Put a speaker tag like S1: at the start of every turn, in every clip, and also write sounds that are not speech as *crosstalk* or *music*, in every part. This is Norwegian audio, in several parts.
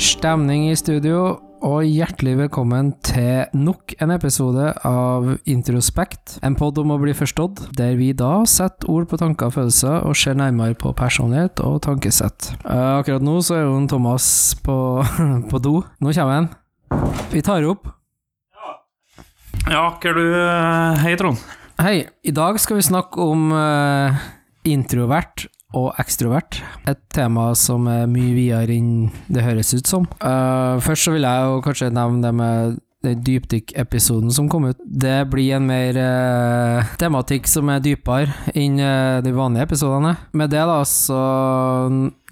S1: Stemning i studio, og hjertelig velkommen til nok en episode av Introspekt. En pod om å bli forstått, der vi da setter ord på tanker og følelser, og ser nærmere på personlighet og tankesett. Eh, akkurat nå så er jo en Thomas på, *laughs* på do. Nå kommer han. Vi tar opp.
S2: Ja, hva er du eh, Hei, Trond.
S1: Hei, i dag skal vi snakke om eh, introvert og ekstrovert. Et tema som er mye videre enn det høres ut som. Eh, først så vil jeg jo kanskje nevne det med den dypdykk-episoden som kom ut. Det blir en mer eh, tematikk som er dypere enn eh, de vanlige episodene. Med det, da, så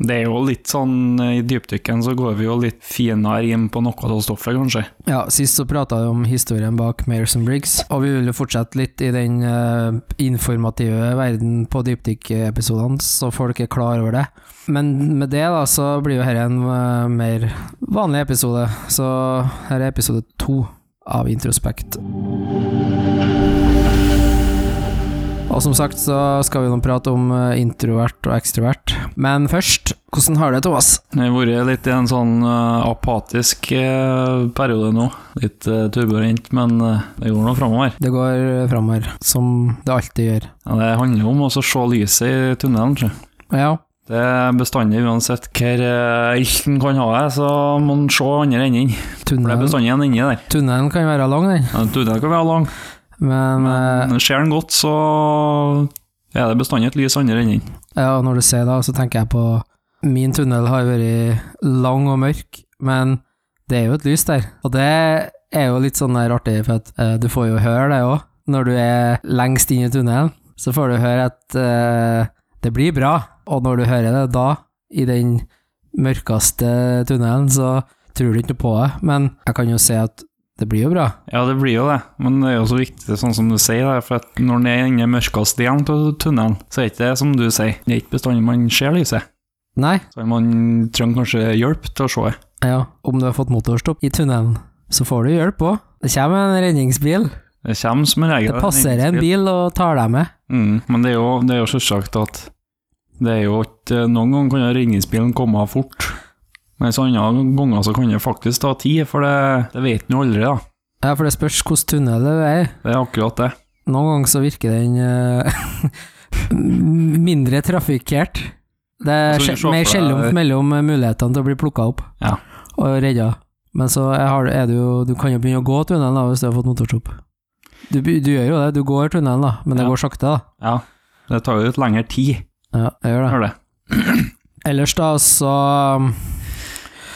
S2: Det er jo litt sånn eh, i dypdykken så går vi jo litt finere inn på noe av stoffet, kanskje.
S1: Ja, sist så prata vi om historien bak Mayerson Briggs, og vi vil jo fortsette litt i den eh, informative verden på dypdykkeepisodene, så folk er klar over det. Men med det da, så blir jo dette en eh, mer vanlig episode, så her er episode to av Introspekt. Og som sagt så skal vi nå prate om eh, introvert og ekstrovert, men først, hvordan har du det, Thomas?
S2: Jeg har vært litt i en sånn eh, apatisk eh, periode nå. Litt eh, turbulent, men eh, det går nå framover.
S1: Det går framover, som det alltid gjør.
S2: Ja, det handler jo om også å se lyset i tunnelen. Tror. jeg.
S1: Ja.
S2: Det er bestandig, uansett hvor eh, ilt en kan ha det, så må en se andre enden. For det er
S1: Tunnelen,
S2: bestandig en ende der.
S1: tunnelen kan være lang, den.
S2: Ja, Tunnelen kan være lang,
S1: Men eh,
S2: men ser den godt, så er det bestandig et lys andre enden.
S1: eh, ja, når du ser det, så tenker jeg på Min tunnel har vært lang og mørk, men det er jo et lys der. Og det er jo litt sånn der artig, for at eh, du får jo høre det òg. Når du er lengst inn i tunnelen, så får du høre at eh, det blir bra. Og når du hører det da, i den mørkeste tunnelen, så tror du ikke noe på det. Men jeg kan jo se at det blir jo bra.
S2: Ja, det blir jo det, men det er jo så viktig, sånn som du sier, da, for at når den er inne i mørkeste delen av tunnelen, så er det ikke det som du sier, det er ikke bestandig man ser lyset.
S1: Nei,
S2: Så man trenger kanskje hjelp til å se det.
S1: Ja, om du har fått motorstopp i tunnelen, så får du hjelp òg. Det kommer en redningsbil.
S2: Det kommer som en regel.
S1: Det passerer en bil og tar deg med.
S2: Mm, men det er jo, det er jo selvsagt at det er jo ikke Noen ganger kan jo redningsbilen komme fort, mens andre ganger så kan det faktisk ta tid, for det, det vet en jo aldri, da.
S1: Ja, for det spørs hvilken tunnel det er. i.
S2: Det er akkurat det.
S1: Noen ganger så virker den eh, *laughs* mindre trafikkert. Det er
S2: Så du
S1: skje-
S2: ser for
S1: mer
S2: deg-
S1: skjellomt mellom mulighetene til å bli plukka opp
S2: Ja.
S1: og redda. Men så er har du- er det jo Du kan jo begynne å gå tunnelen da, hvis du har fått motorstopp. Du, be- du gjør jo det, du går tunnelen, da, men det
S2: Ja.
S1: går sakte, da.
S2: Ja. Det tar jo litt lengre tid,
S1: Ja, jeg gjør det.
S2: gjør det.
S1: Ellers, da, så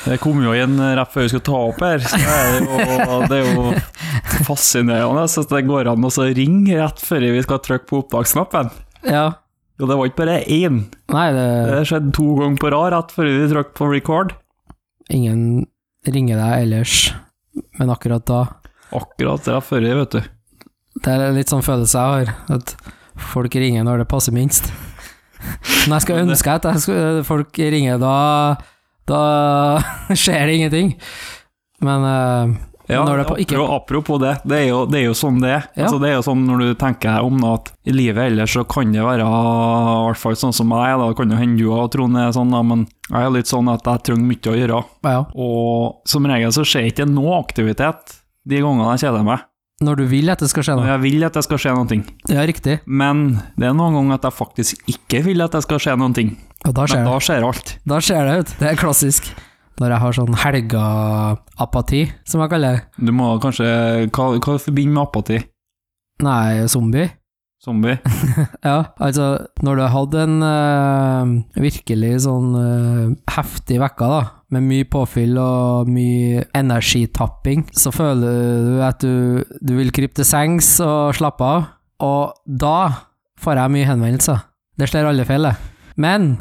S2: Det kom jo igjen rett før vi skulle ta opp her, så det er jo, det er jo fascinerende at det går an å så ringe rett før vi skal trykke på opptaksknappen.
S1: Ja.
S2: Og det var ikke bare én,
S1: Nei, det
S2: det skjedde to ganger på rad rett før vi trykte på record.
S1: ingen ringer deg ellers, men akkurat da
S2: Akkurat rett før, vet du.
S1: Det er litt sånn følelse jeg har, at folk ringer når det passer minst. Men jeg skal
S2: Men det-
S1: ønske at jeg skal, folk ringer da *laughs* Da skjer det ingenting. Men eh,
S2: Ja,
S1: Når det på- ikke-
S2: apro- apropos det, det er, jo, det er jo sånn det er.
S1: Ja.
S2: Altså, det er jo sånn når du tenker deg om da, at i livet ellers så kan det være, i hvert fall sånn som meg, da kan det hende du og Trond er sånn, da, men jeg er litt sånn at jeg trenger mye å gjøre.
S1: ja,
S2: Og som regel så skjer ikke noe aktivitet de gangene jeg kjeder meg.
S1: når du vil at det skal skje
S2: Og
S1: noe.
S2: jeg vil at det skal skje noe.
S1: Ja, riktig.
S2: Men det er noen ganger at jeg faktisk ikke vil at det skal skje noe. Men
S1: Og da skjer det.
S2: da skjer alt.
S1: Da skjer det, vet du. Det er klassisk. Når jeg har sånn helga-apati, som jeg kaller det.
S2: Du må kanskje Hva, hva forbinder med apati?
S1: Nei, zombie.
S2: Zombie?
S1: Ja, altså når du har hatt en eh, virkelig sånn eh, heftig vekka da, med mye påfyll og mye energitapping, så føler du at du, du vil krype til sengs og slappe av, og da får jeg mye henvendelser. Det slår alle feil, det. Men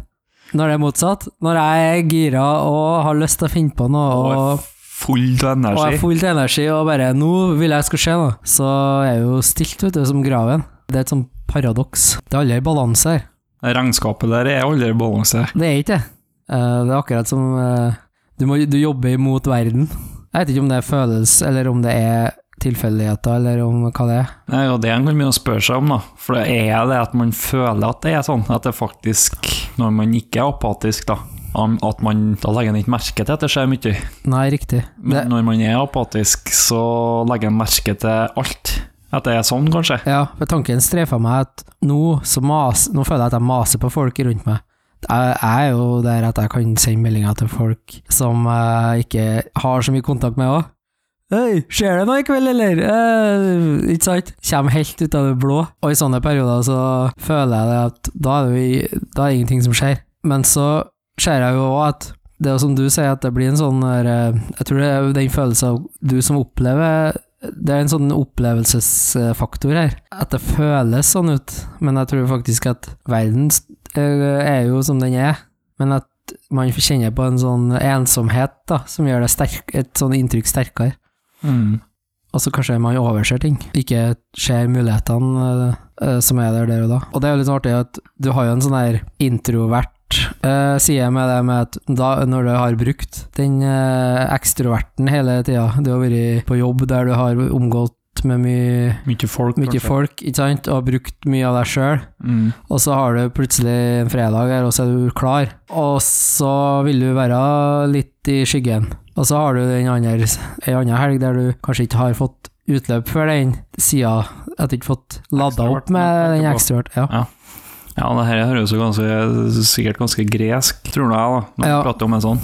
S1: når det er motsatt, når jeg er gira og har lyst til å finne på noe og
S2: Og full av
S1: og er
S2: energi?
S1: full til energi og bare 'nå vil jeg skulle skje noe', så er jeg jo stilt, vet du, som graven. Det er et sånt paradoks. Det er aldri balanse her.
S2: Det Regnskapet der er aldri i balanse.
S1: Det er ikke det. Eh, Det er akkurat som eh, du, må, du jobber imot verden. Jeg vet ikke om det er følelse, eller om det er tilfeldigheter, eller om hva det er.
S2: Det er jo det en kan begynne å spørre seg om, da. For det er det at man føler at det er sånn, at det faktisk Når man ikke er apatisk, da. Am- At man, da legger en ikke merke til at det skjer mye.
S1: Nei, riktig.
S2: Men
S1: Det,
S2: når man er apatisk, så legger en merke til alt. At det er sånn, kanskje.
S1: ja, for tanken strefa meg at nå, så mas, nå føler jeg at jeg maser på folk rundt meg. Jeg jeg er jo der at jeg kan sende meldinger til folk som jeg ikke har så mye kontakt med òg. Hei, skjer det noe i kveld, eller? Eh, ikke sant? Kommer helt ut av det blå. Og i sånne perioder så føler jeg det at da er det, jo, i- da er det ingenting som skjer. Men så ser jeg jo òg at det er jo som du sier, at det blir en sånn der, eh, Jeg tror det er jo den følelsen av du som opplever Det er en sånn opplevelsesfaktor her. At det føles sånn ut. Men jeg tror faktisk at verden eh, er jo som den er. Men at man kjenner på en sånn ensomhet da, som gjør det sterk, et sånn inntrykk sterkere.
S2: Mm.
S1: Og så kanskje man overser ting. Ikke ser mulighetene eh, eh, som er der der og da. Og det er jo litt sånn artig at du har jo en sånn her introvert eh, side med det med at da, når du har brukt den eh, ekstroverten hele tida, du har vært på jobb der du har omgått med mye,
S2: Mye folk,
S1: mye folk, ikke sant, og brukt mye av deg sjøl.
S2: Mm.
S1: Og så har du plutselig en fredag her, og så er du klar. Og så vil du være litt i skyggen. Og så har du en annen, en annen helg der du kanskje ikke har fått utløp for den sida. At du ikke har fått lada
S2: Ekstrovert,
S1: opp med den
S2: tenker på.
S1: ekstrovert. Ja.
S2: Ja, det her høres jo ganske, sikkert ganske gresk, tror jeg, da, når vi
S1: Ja.
S2: prater om en sånn.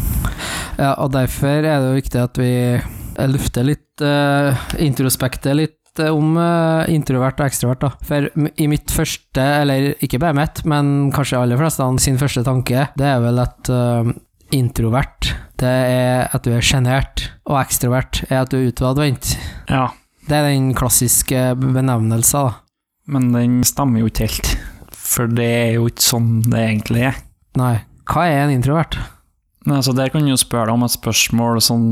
S1: ja, og derfor er det jo viktig at vi eh, lufter litt, eh, introspekter litt eh, om eh, introvert og ekstrovert, da. For m- i mitt første, eller ikke bare mitt, men kanskje aller fleste av sin første tanke, det er vel at eh, introvert, det er at du er sjenert, og ekstrovert er at du er utadvendt.
S2: Ja,
S1: Det er den klassiske benevnelsen, da.
S2: men den stemmer jo ikke helt. For det er jo ikke sånn det egentlig er.
S1: Nei, hva er en introvert?
S2: Nei, så Der kan jeg jo spørre deg om et spørsmål sånn,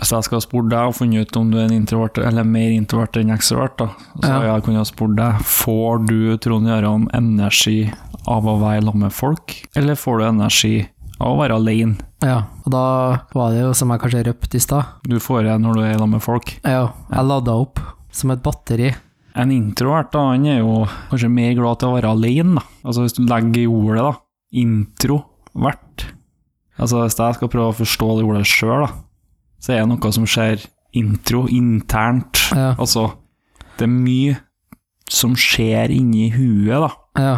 S2: Hvis jeg skal ha spurt deg og funnet ut om du er en introvert eller mer introvert enn ekstrovert, da, så
S1: Ja.
S2: ja. jeg kunne ha spurt deg Får du, Trond Gøran, energi av å være sammen med folk, eller får du energi av å være alene?
S1: Ja, og da var det jo som jeg kanskje røpte i stad.
S2: Du får det når du er sammen med folk.
S1: Ja, jeg lada opp som et batteri.
S2: En introvert da, han er jo kanskje mer glad til å være alene. Da. Altså Hvis du legger i ordet da, introvert Altså Hvis jeg skal prøve å forstå det ordet sjøl, så er det noe som skjer intro, internt.
S1: Ja,
S2: Altså Det er mye som skjer inni huet da,
S1: ja.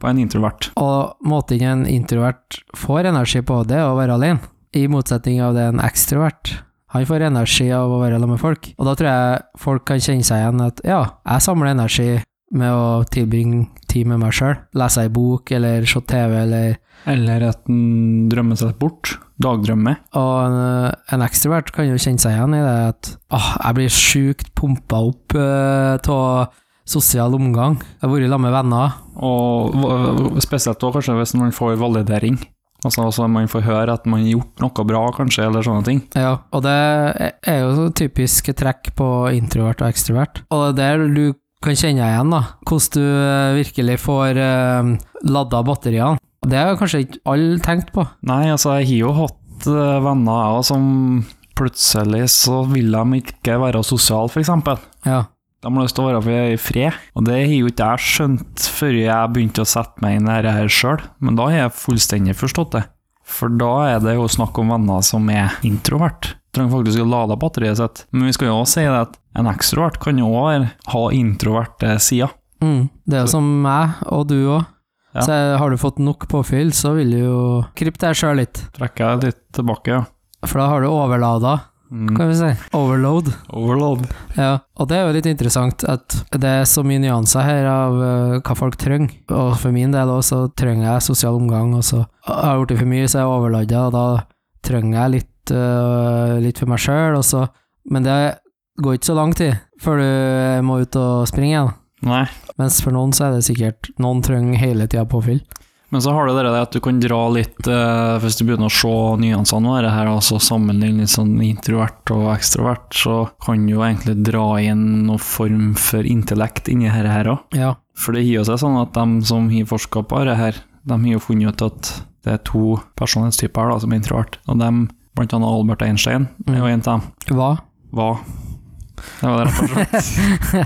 S2: på en introvert.
S1: Og måten en introvert får energi på, det er å være alene. I motsetning av det en ekstrovert. Han får energi av å være sammen med folk. Og da tror jeg folk kan kjenne seg igjen at ja, jeg samler energi med å tilbringe tid med meg sjøl. Lese ei bok, eller se TV, eller
S2: Eller at en drømmer seg bort. Dagdrømmer.
S1: Og en, en ekstrovert kan jo kjenne seg igjen i det at åh, jeg blir sjukt pumpa opp eh, av sosial omgang. Jeg har vært sammen med venner.
S2: Og hva- spesielt da kanskje hvis man får validering. Altså, altså Man får høre at man har gjort noe bra, kanskje, eller sånne ting.
S1: Ja, og det er jo sånn typiske trekk på introvert og ekstrovert. Og det er der du kan kjenne deg igjen, da. Hvordan du eh, virkelig får eh, ladda batteriene. Det har jo kanskje ikke alle tenkt på.
S2: Nei, altså jeg har jo hatt eh, venner jeg også, som plutselig så vil de ikke være sosiale, for eksempel.
S1: Ja,
S2: De har lyst til å være for- i fred, og det har jo ikke jeg skjønt før jeg begynte å sette meg inn i dette her sjøl, men da har jeg fullstendig forstått det. For da er det jo snakk om venner som er introvert. Trenger faktisk å lade batteriet sitt. Men vi skal jo også si det at en ekstrovert kan jo også ha introverte sider.
S1: mm. det er jo som meg og du òg.
S2: Ja.
S1: Så har du fått nok påfyll, så vil du jo krype deg sjøl litt.
S2: Trekker jeg litt tilbake, ja.
S1: For da har du overlada,
S2: Mm.
S1: kan vi si. Overload.
S2: Overload.
S1: Ja, og det er jo litt interessant at det er så mye nyanser her av eh, hva folk trenger. Og for min del òg, så trenger jeg sosial omgang, og så har jeg gjort det for mye, så er jeg overlada, og da trenger jeg litt, eh, litt for meg sjøl, og så Men det går ikke så lang tid før du må ut og springe igjen.
S2: Nei.
S1: Mens for noen så er det sikkert Noen trenger hele tida påfyll.
S2: Men så har du det der at du kan dra litt eh, Hvis du begynner å se nyansene av det her, altså sammenligne litt sånn introvert og ekstrovert, så kan du jo egentlig dra inn noen form for intellekt inni dette her òg.
S1: Ja.
S2: For det gir jo seg sånn at de som har forska på det her, de har jo funnet ut at det er to personlighetstyper her da, som er introvert, og dem, blant annet Albert Einstein, er jo en av dem.
S1: Hva?
S2: Hva? Det var det rett og slett. Ja,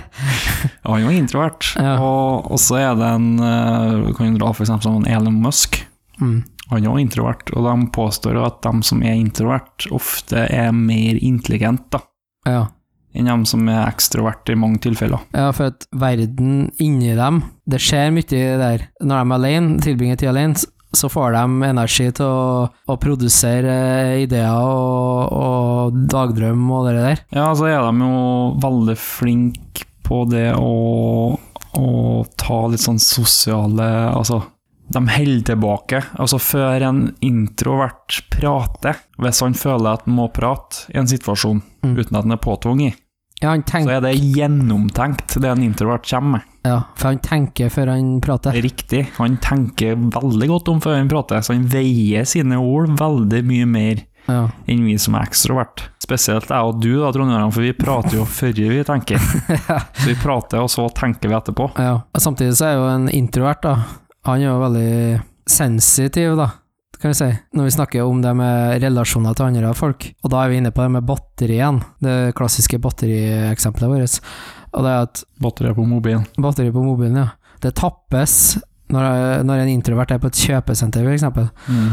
S2: Han var introvert.
S1: Ja.
S2: Og, og så er det en eh, Du kan jo dra for eksempel som en Elon Musk.
S1: Mm.
S2: Han er også introvert, og de påstår at de som er introvert, ofte er mer intelligent da,
S1: Ja.
S2: enn de som er ekstrovert i mange tilfeller.
S1: ja, for at verden inni dem Det skjer mye der. Når de er alene, tilbringer tid alene, s- så får de energi til å, å produsere eh, ideer og, og dagdrøm og det der.
S2: Ja, så er de jo veldig flinke på det å, å ta litt sånn sosiale Altså, de holder tilbake. Altså, før en introvert prater, hvis han føler at han må prate i en situasjon
S1: Mm.
S2: uten at han er påtvunget,
S1: Ja, han
S2: så
S1: tenker,
S2: er det gjennomtenkt, det en introvert kommer med.
S1: ja, for han tenker før han prater.
S2: Riktig. Han tenker veldig godt om før han prater, så han veier sine ord veldig mye mer
S1: Ja. *laughs*
S2: enn vi som er ekstrovert. Spesielt jeg og du, da, trondheimerne, for vi prater jo før vi tenker. Så vi prater, og så tenker vi etterpå.
S1: Ja, og samtidig så er jo en introvert, da. Han er jo veldig sensitiv, da, kan vi si, når vi snakker om det med relasjoner til andre folk. Og da er vi inne på det med batteri igjen, det klassiske batterieksempelet vårt. Og det er at
S2: Batteriet på mobilen.
S1: batteri på mobilen, ja, det tappes når, når en introvert er på et kjøpesenter, f.eks.
S2: Mm.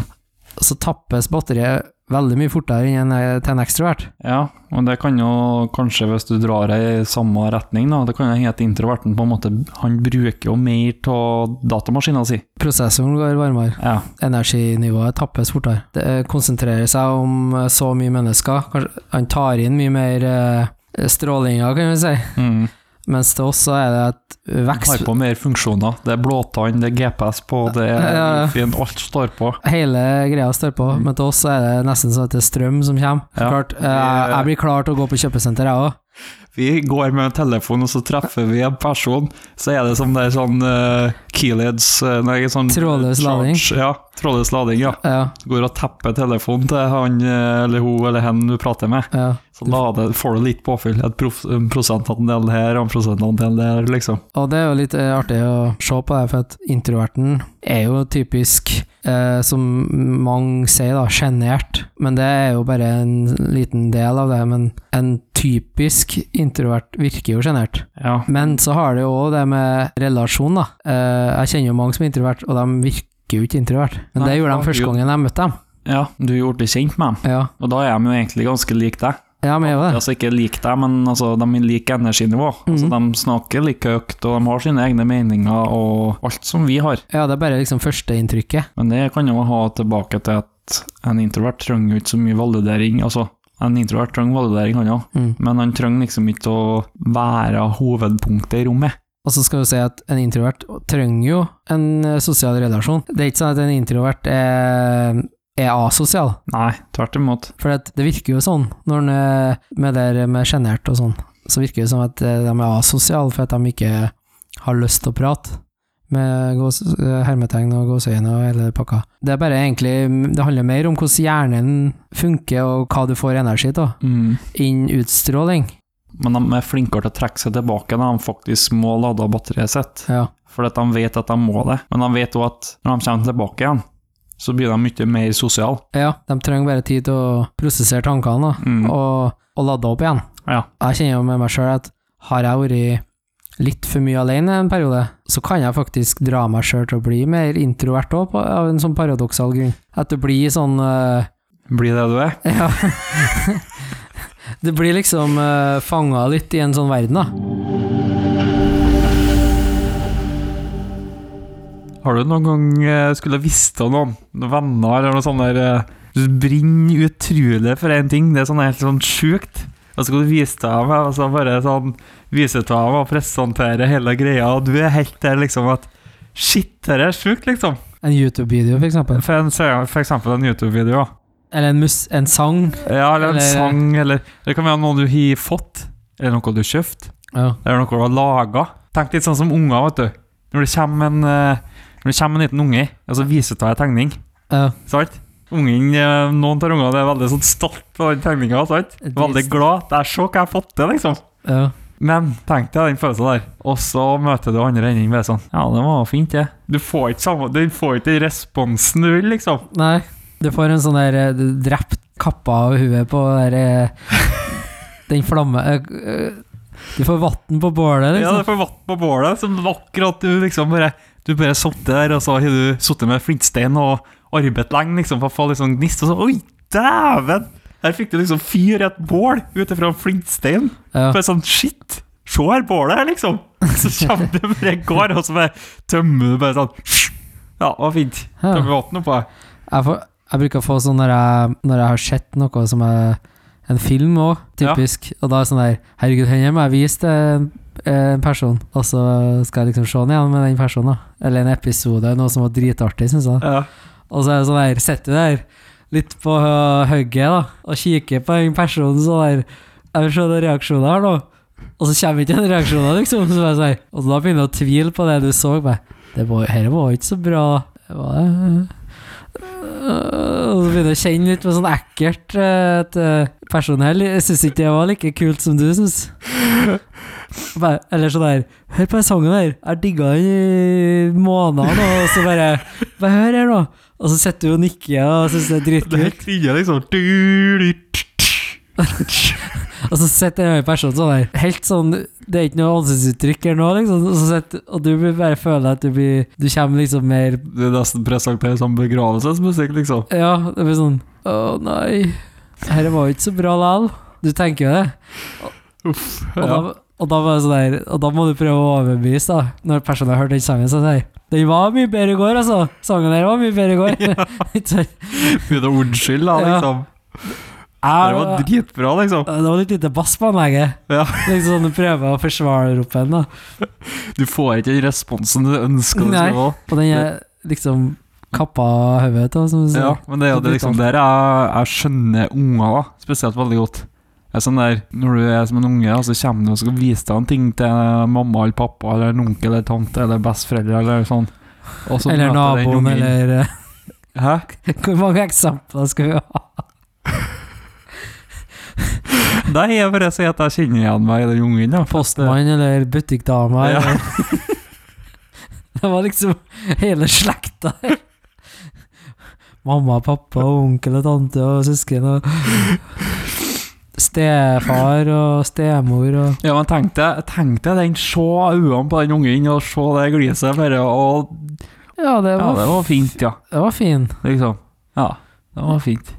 S1: Så tappes batteriet veldig mye fortere enn en- til en ekstrovert.
S2: Ja, og det kan jo kanskje, hvis du drar i samme retning, da, det kan jo hete introverten på en måte Han bruker jo mer av datamaskina si.
S1: Prosessoren går varmere.
S2: Ja.
S1: energinivået tappes fortere. Det eh, konsentrerer seg om eh, så mye mennesker. Kanskje han tar inn mye mer eh, strålinger, kan vi si.
S2: Mm.
S1: Mens til oss så er det et
S2: Har
S1: vekst...
S2: på mer funksjoner. Det er blåtann, det er GPS på, det er
S1: Ja, ja, ja.
S2: Wi-Fi-en, alt står på.
S1: Hele greia står på, men til oss så er det nesten sånn at det er strøm som kommer.
S2: Mm. Ja.
S1: Klart, eh, jeg blir klar til å gå på kjøpesenter, jeg òg.
S2: Vi går med en telefon, og så treffer vi en person, så er det som det er sånn uh, keylids eh, Nei, sånn
S1: Trådløs lading.
S2: charge. Ja, trådløs lading, ja.
S1: Ja,
S2: Går og tepper telefonen til han eh, eller hun eller hen du prater med.
S1: ja.
S2: Så lader, får du litt påfyll. Et prof, en prosentandel her og en prosentandel der, liksom.
S1: Og det er jo litt eh, artig å se på det, for at introverten er jo typisk, eh, som mange sier, da, sjenert. Men det er jo bare en liten del av det. Men en typisk introvert virker jo sjenert.
S2: Ja.
S1: Men så har det jo òg det med relasjon, da. Eh, jeg kjenner jo mange som er introvert, og de virker jo ikke introvert. Men
S2: Nei,
S1: det gjorde
S2: faen,
S1: de første
S2: jo.
S1: gangen jeg møtte dem.
S2: ja, du er gjort det kjent med dem,
S1: Ja,
S2: og da er de jo egentlig ganske like deg.
S1: ja men jeg er jo det.
S2: Altså ikke lik deg, men altså, de er like energinivå. Altså,
S1: Mhm.
S2: de snakker like høyt, og de har sine egne meninger og alt som vi har.
S1: Ja, det er bare liksom førsteinntrykket.
S2: Men det kan jo ha tilbake til at en introvert trenger jo ikke så mye validering. Altså, en introvert trenger validering, han òg,
S1: Mm.
S2: men han trenger liksom ikke å være hovedpunktet i rommet.
S1: Og så skal vi si at en introvert trenger jo en eh, sosial relasjon. Det er ikke sånn at en introvert er, er asosial,
S2: Nei, tvert imot.
S1: for at det virker jo sånn når en er med det med sjenert og sånn. Så virker det som at eh, de er asosiale for at de ikke har lyst til å prate. Med gås, eh, hermetegn og gåseøyne og hele pakka. Det er bare egentlig Det handler mer om hvordan hjernen funker og hva du får energi av,
S2: Mm.
S1: innen utstråling.
S2: Men de er flinkere til å trekke seg tilbake når de faktisk må lade av batteriet sitt.
S1: Ja.
S2: For at de vet at de må det. Men de vet òg at når de kommer tilbake igjen, så blir de mye mer sosiale.
S1: ja. De trenger bare tid til å prosessere tankene, da.
S2: Mm.
S1: og, og lade opp igjen.
S2: Ja.
S1: Jeg kjenner jo med meg sjøl at har jeg vært litt for mye alene en periode, så kan jeg faktisk dra meg sjøl til å bli mer introvert òg, av en sånn paradoksal grunn. At det blir sånn eh,
S2: Blir det du er.
S1: Ja. det blir liksom uh, fanga litt i en sånn verden, da.
S2: Har du noen gang eh, skulle visst om noen, noen venner eller noe sånt der eh, Du brenner utrolig for én ting, det er sånn helt sånn sjukt. Og så skal du vise det av meg, og så bare sånn vise det av meg og presentere hele greia, og du er helt der liksom at Shit, dette er sjukt, liksom.
S1: En YouTube-video, for eksempel.
S2: For, en, for eksempel en YouTube-video.
S1: Eller en, mus en sang.
S2: Ja, eller en
S1: Eller-
S2: sang, eller Det kan være noe du har fått, eller noe du har kjøpt.
S1: Ja.
S2: Det er noe du har laga. Tenk litt sånn som unger, vet du. Når det kommer en, eh, når det kommer en liten unge, og så viser du deg en tegning.
S1: Ja.
S2: Sant? Ungen, eh, noen av ungene er veldig sånn stolt av den tegninga. Veldig
S1: Drist.
S2: glad. Det er så hva jeg har fått til, liksom.
S1: ja.
S2: Men tenk deg den følelsen der, og så møter du andre enden bare sånn Ja, det var fint, det. Du får ikke samme Du får ikke den responsen du vil, liksom.
S1: Nei. Du får en sånn der eh, du drept kappa av huet på der, eh, *laughs* den flamme eh, eh, Du får vann på bålet,
S2: Ja,
S1: liksom.
S2: du får vatt på bålet, som akkurat du liksom bare Du bare satt der, og så har du sittet med flintstein og, arbeidet lenge liksom, for å få litt sånn gnist. Og så, oi, dæven! Her fikk du liksom fyr et bål ut ifra en flintstein.
S1: Ja.
S2: Bare sånn, shit! Se her bålet her, liksom! Så kommer det bare en gård, og så bare tømmer du bare sånn Ja, det var fint.
S1: Ja.
S2: Tømmer vannet oppå.
S1: Jeg, får, jeg bruker å få sånn når jeg, når jeg har sett noe som er en film òg,
S2: Ja.
S1: typisk, og da er det sånn der Herregud, henne må jeg vise til en, en person, og så skal jeg liksom se den igjen med den personen, da. Eller en episode, noe som var dritartig, syns jeg.
S2: Ja.
S1: Og så er det sånn der, sitter du der litt på hø- hugget da, og kikker på den personen sånn der, jeg vil se den reaksjonen her nå. Og så kommer ikke den reaksjonen liksom, så bare sånn, her. og da begynner du å tvile på det du så, bare, det var, her var ikke så bra. Det var, Øh, og så begynner du å kjenne litt på sånn ekkelt øh, at øh, personen her, li- jeg synes ikke det var like kult som du synes. Bare, eller sånn der, hør på den sangen her, jeg digget den i måneder nå, og så bare, bare hør her nå. Og så sitter du og nikker og syns det er
S2: Det er
S1: dritkult.
S2: klinja liksom Du-du-du-du-du.
S1: Og så sitter en annen person sånn der, helt sånn Det er ikke noe ansiktsuttrykk eller noe, liksom. Og, så sitter, og du blir bare føler at du blir Du kommer liksom mer
S2: Det er nesten presentert som begravelsesmusikk,
S1: *laughs*
S2: liksom.
S1: Ja, det blir sånn Å nei, dette var jo ikke så bra likevel. Du tenker jo det.
S2: Uff.
S1: Og da,
S2: Ja.
S1: og da var det sånn der Og da må du prøve å overbevise, da, når personen har hørt den sangen. Så sier den var mye bedre i går, altså. Sangen der var mye bedre i går. *laughs* Ikke sant?
S2: Begynner å unnskylde, da,
S1: Ja.
S2: liksom.
S1: Ja,
S2: Det var
S1: det
S2: dritbra, liksom.
S1: var- det var litt lite bass på anlegget.
S2: Ja.
S1: Liksom sånn du prøver å forsvare opp en, da.
S2: Du får ikke den responsen du ønsker. du
S1: Nei.
S2: skal ha.
S1: Og den er liksom kappa hodet av, som du
S2: Ja,
S1: sier.
S2: men det er jo det liksom der jeg, jeg skjønner unger da, spesielt veldig godt. Det er sånn der, Når du er som en unge, da, så kommer du og skal vise deg en ting til mamma eller pappa eller en onkel eller tante eller besteforeldre eller sånn. Og så
S1: eller
S2: møter den
S1: naboen,
S2: ungen-
S1: eller eh, *laughs*
S2: Hæ?
S1: Hvor mange eksempler skal vi ha?
S2: Nei, jeg bare sier at jeg kjenner igjen meg i den ungen. da.
S1: Postmann eller butikkdama?
S2: Ja.
S1: Eller. *laughs* det var liksom hele slekta her. Mamma, pappa, og onkel og tante og søsken og Stefar og stemor og
S2: Ja, men tenk deg, tenk deg den, se øynene på den ungen og se det gliset bare, og
S1: Ja, det
S2: Ja,
S1: var,
S2: det var fint, ja.
S1: det var fin.
S2: Liksom. Ja, det var fint.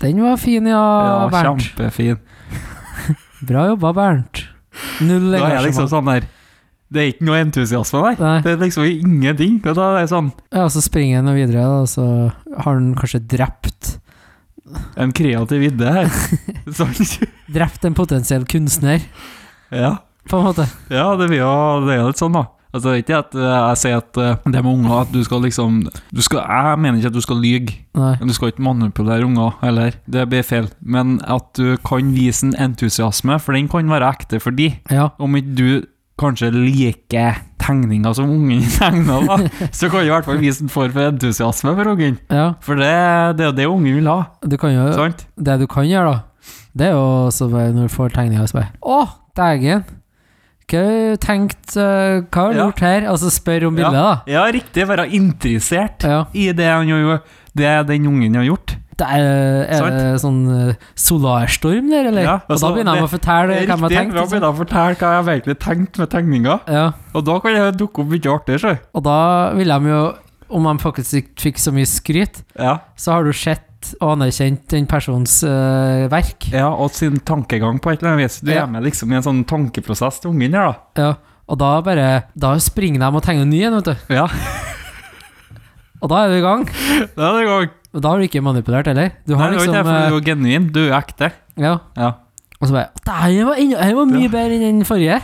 S1: Den var fin, ja,
S2: Ja,
S1: Bernt.
S2: kjempefin.
S1: Bra jobba, Bernt. Null
S2: Da er jeg liksom
S1: engasjement.
S2: sånn der Det er ikke noe entusiasme der.
S1: Nei.
S2: Det er liksom ingenting. Og da er det sånn
S1: Ja, og så springer han videre, da, og så har han kanskje drept
S2: En kreativ idé her. Sånn.
S1: Drept en potensiell kunstner,
S2: Ja.
S1: på en måte.
S2: ja, det blir jo det er jo litt sånn, da. Altså, det er ikke at eh, jeg sier at eh, det med unger at du skal liksom du skal, Jeg mener ikke at du skal lyge.
S1: Nei.
S2: Du skal ikke manipulere unger heller, det blir feil. Men at du kan vise en entusiasme, for den kan være ekte for de.
S1: Ja.
S2: Om ikke du kanskje liker tegninger som ungen *laughs* tegner, da, så kan du i hvert fall vise en form for entusiasme for ungen.
S1: ja.
S2: For det, det er jo det ungen vil ha,
S1: Du kan jo
S2: sant?
S1: Det du kan gjøre, da, det er jo så bare når du får tegninga og spør Å, dægen! Hva har du tenkt eh, Hva har du
S2: Ja.
S1: gjort her? Og så spør om bildet,
S2: Ja, riktig. Være interessert
S1: da. Ja.
S2: i det, han gjør, det den ungen har gjort.
S1: Det er, er det sånn eh, solarstorm der, eller?
S2: Ja,
S1: og da
S2: altså,
S1: begynner de å fortelle hva de har tenkt.
S2: Da
S1: liksom.
S2: begynner jeg å fortelle hva jeg egentlig tenkte med tegninga,
S1: Ja.
S2: og da kan det dukke opp mye artig. Så.
S1: Og da ville de jo, om de faktisk ikke fikk så mye skryt,
S2: Ja.
S1: så har du sett og anerkjent den persons eh, verk.
S2: ja, og sin tankegang på et eller annet vis. Du
S1: Ja.
S2: er med liksom i en sånn tankeprosess til ungen her, da.
S1: Ja. Og da bare Da springer de og tegner en ny en, vet du.
S2: Ja, *laughs*
S1: Og da er du i gang.
S2: det er det gang.
S1: Og da har du ikke manipulert heller. Du
S2: Nei,
S1: har
S2: det er jo
S1: liksom
S2: ikke det, for
S1: eh,
S2: du er jo genuin. Du er jo ekte.
S1: Ja.
S2: Ja.
S1: Og så bare Det her var, enda- her var mye
S2: Ja.
S1: bedre enn den forrige.